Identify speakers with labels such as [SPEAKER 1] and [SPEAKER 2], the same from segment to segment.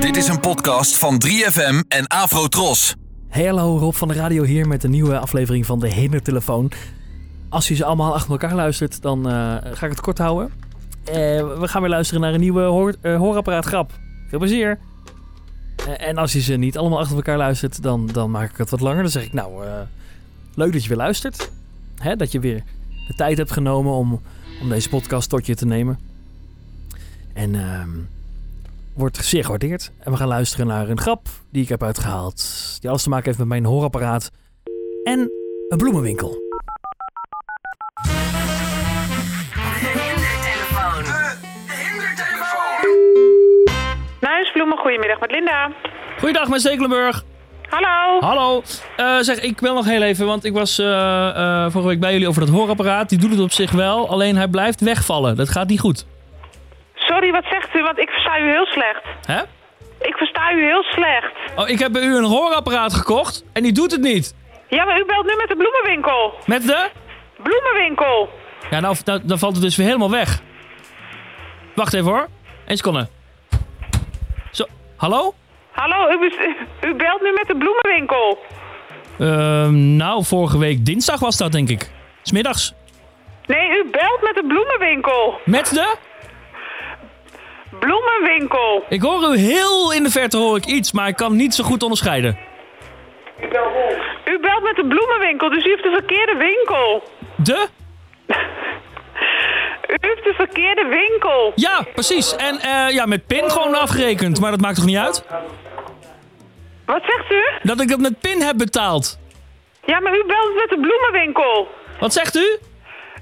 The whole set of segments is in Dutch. [SPEAKER 1] Dit is een podcast van 3FM en Afrotros.
[SPEAKER 2] Hey, hallo, Rob van de Radio hier met een nieuwe aflevering van de Hindertelefoon. Als je ze allemaal achter elkaar luistert, dan eh, ga ik het kort houden. Eh, we gaan weer luisteren naar een nieuwe hoor, eh, hoorapparaat grap. Veel plezier. Eh, en als je ze niet allemaal achter elkaar luistert, dan, dan maak ik het wat langer. Dan zeg ik, nou, eh, leuk dat je weer luistert. Hè, dat je weer de tijd hebt genomen om, om deze podcast tot je te nemen. En ehm, wordt zeer gewaardeerd. En we gaan luisteren naar een grap die ik heb uitgehaald. Die alles te maken heeft met mijn hoorapparaat. En een bloemenwinkel.
[SPEAKER 3] Hindertelefoon.
[SPEAKER 4] Nuisbloemen, goedemiddag met Linda.
[SPEAKER 2] Goeiedag, mijn Stekelenburg.
[SPEAKER 4] Hallo.
[SPEAKER 2] Hallo. Eh, zeg, ik bel nog heel even, want ik was eh eh, vorige week bij jullie over dat hoorapparaat. Die doet het op zich wel, alleen hij blijft wegvallen. Dat gaat niet goed.
[SPEAKER 4] Sorry, wat zegt u? Want ik versta u heel slecht.
[SPEAKER 2] Hè?
[SPEAKER 4] Ik versta u heel slecht.
[SPEAKER 2] Oh, ik heb bij u een hoorapparaat gekocht en die doet het niet.
[SPEAKER 4] Ja, maar u belt nu met de bloemenwinkel.
[SPEAKER 2] Met de...
[SPEAKER 4] Bloemenwinkel.
[SPEAKER 2] Ja, nou, nou, dan valt het dus weer helemaal weg. Wacht even hoor. Eén seconde. Zo, hallo?
[SPEAKER 4] Hallo, u, bes- u belt nu met de bloemenwinkel.
[SPEAKER 2] Ehm, nou, vorige week dinsdag was dat, denk ik. Smiddags.
[SPEAKER 4] Nee, u belt met de bloemenwinkel.
[SPEAKER 2] Met de?
[SPEAKER 4] Bloemenwinkel.
[SPEAKER 2] Ik hoor u heel in de verte hoor ik iets, maar ik kan niet zo goed onderscheiden.
[SPEAKER 4] U belt met de bloemenwinkel, dus u heeft de verkeerde winkel.
[SPEAKER 2] De?
[SPEAKER 4] U heeft de verkeerde winkel.
[SPEAKER 2] Ja, precies. En eh, ja, met pin gewoon afgerekend, maar dat maakt toch niet uit?
[SPEAKER 4] Wat zegt u?
[SPEAKER 2] Dat ik dat met pin heb betaald.
[SPEAKER 4] Ja, maar u belt met de bloemenwinkel.
[SPEAKER 2] Wat zegt u?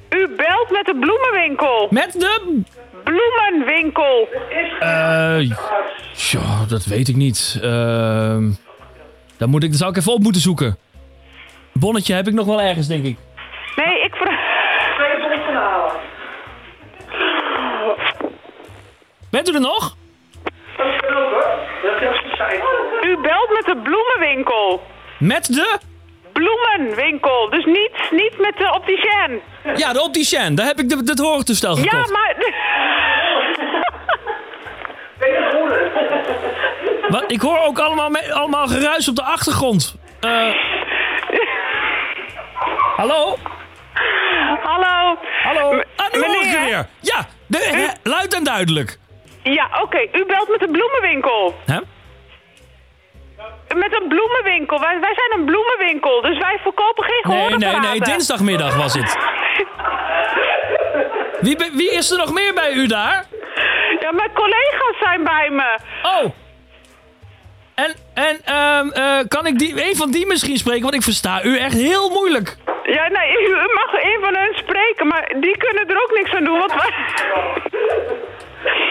[SPEAKER 4] U belt met de bloemenwinkel.
[SPEAKER 2] Met de...
[SPEAKER 4] Bloemenwinkel.
[SPEAKER 2] Eh ja, dat weet ik niet. Ehm dan moet ik, dat zou ik even op moeten zoeken. Bonnetje heb ik nog wel ergens, denk ik.
[SPEAKER 4] Nee, ik vraag.
[SPEAKER 2] Bent u er nog?
[SPEAKER 4] U belt met de bloemenwinkel.
[SPEAKER 2] Met de...
[SPEAKER 4] Bloemenwinkel. Dus niet, niet met de opticien.
[SPEAKER 2] Ja, de opticien. Daar heb ik de, het hoortoestel gekocht.
[SPEAKER 4] Ja, maar.
[SPEAKER 2] Wat? Ik hoor ook allemaal, me- allemaal geruis op de achtergrond. Eh, Hallo?
[SPEAKER 4] Hallo.
[SPEAKER 2] Hallo? Ah, nu hoor ik
[SPEAKER 4] meneer?
[SPEAKER 2] u weer. Ja, de, hè, luid en duidelijk.
[SPEAKER 4] Ja, oké. U belt met de bloemenwinkel.
[SPEAKER 2] Hè?
[SPEAKER 4] Met een bloemenwinkel. Wij, wij zijn een bloemenwinkel. Dus wij verkopen geen
[SPEAKER 2] Nee,
[SPEAKER 4] gehoorapparaten.
[SPEAKER 2] nee, nee, dinsdagmiddag was het. Wie, be- wie is er nog meer bij u daar?
[SPEAKER 4] Ja, mijn collega's zijn bij me.
[SPEAKER 2] Oh. En, en ehm, eh, kan ik die, een van die misschien spreken? Want ik versta u echt heel moeilijk.
[SPEAKER 4] Ja, nee, u u mag een van hen spreken, maar die kunnen er ook niks aan doen, want wij,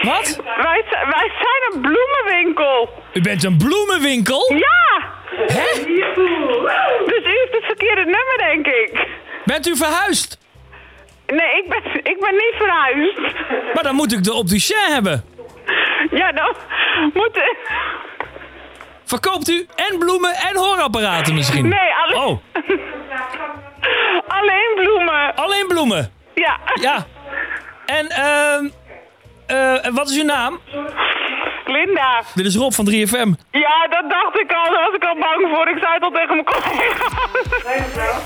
[SPEAKER 2] Wat?
[SPEAKER 4] wij, zijn- wij zijn een bloemenwinkel.
[SPEAKER 2] U bent een bloemenwinkel?
[SPEAKER 4] Ja!
[SPEAKER 2] Hè?
[SPEAKER 4] Dus u heeft het verkeerde nummer, denk ik.
[SPEAKER 2] Bent u verhuisd?
[SPEAKER 4] Nee, ik ben, ik ben niet verhuisd.
[SPEAKER 2] Maar dan moet ik de opticien hebben.
[SPEAKER 4] Ja, dan moet...
[SPEAKER 2] Verkoopt u en bloemen en hoorapparaten misschien?
[SPEAKER 4] Nee, alle-
[SPEAKER 2] Oh,
[SPEAKER 4] alleen bloemen.
[SPEAKER 2] alleen bloemen.
[SPEAKER 4] Ja,
[SPEAKER 2] Ja. En ehm eh, wat is uw naam?
[SPEAKER 4] Linda.
[SPEAKER 2] Dit is Rob van 3FM.
[SPEAKER 4] Ja, dat dacht ik al. Daar was ik al bang voor. Ik zei het al tegen mijn collega's.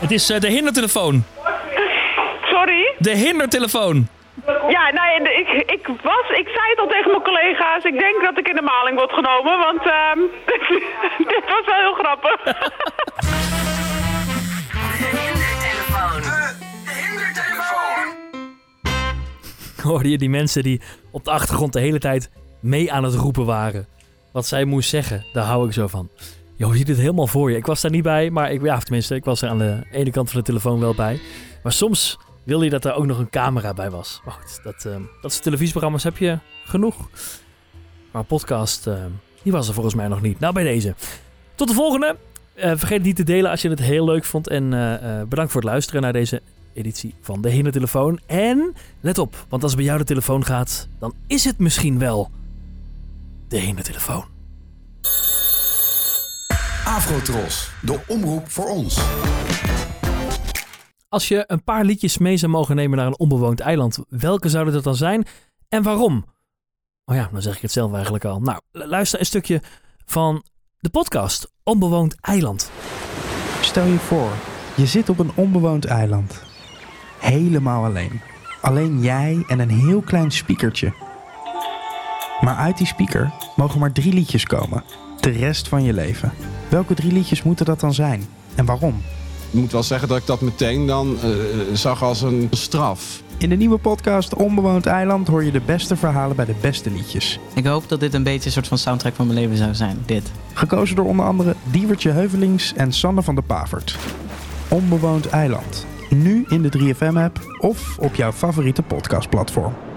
[SPEAKER 2] Het is eh, de hindertelefoon.
[SPEAKER 4] Sorry.
[SPEAKER 2] De hindertelefoon.
[SPEAKER 4] Ja, nou, ja, de- ik, ik was... Ik zei het al tegen mijn collega's. Ik denk dat ik in de maling word genomen, want... ehm, dit was wel heel grappig.
[SPEAKER 3] Hindertelefoon. Hindertelefoon.
[SPEAKER 2] Hoorde je die mensen die op de achtergrond de hele tijd mee aan het roepen waren? Wat zij moest zeggen, daar hou ik zo van. Joh, je ziet het helemaal voor je. Ik was daar niet bij, maar ik, ja, of tenminste, ik was er aan de ene kant van de telefoon wel bij. Maar soms wilde je dat er ook nog een camera bij was. Maar goed, dat, ehm, dat soort televisieprogramma's heb je genoeg. Maar podcast, ehm, die was er volgens mij nog niet. Nou, bij deze. Tot de volgende. Eh, vergeet het niet te delen als je het heel leuk vond. En eh, eh, bedankt voor het luisteren naar deze editie van De Hindertelefoon. En let op, want als bij jou de telefoon gaat, dan is het misschien wel De Hindertelefoon.
[SPEAKER 5] Afrotros, de omroep voor ons.
[SPEAKER 2] Als je een paar liedjes mee zou mogen nemen naar een onbewoond eiland, welke zouden dat dan zijn en waarom? Oh ja, dan zeg ik het zelf eigenlijk al. Nou, lu- luister een stukje van de podcast Onbewoond Eiland.
[SPEAKER 6] Stel je voor, je zit op een onbewoond eiland. Helemaal alleen. Alleen jij en een heel klein speakertje. Maar uit die speaker mogen maar drie liedjes komen. De rest van je leven. Welke drie liedjes moeten dat dan zijn? En waarom?
[SPEAKER 7] Ik moet wel zeggen dat ik dat meteen dan eh, zag als een straf.
[SPEAKER 6] In de nieuwe podcast Onbewoond Eiland hoor je de beste verhalen bij de beste liedjes.
[SPEAKER 8] Ik hoop dat dit een beetje een soort van soundtrack van mijn leven zou zijn. Dit.
[SPEAKER 6] Gekozen door onder andere Diewertje Heuvelings en Sanne van der Pavert. Onbewoond Eiland. Nu in de 3FM-app of op jouw favoriete podcastplatform.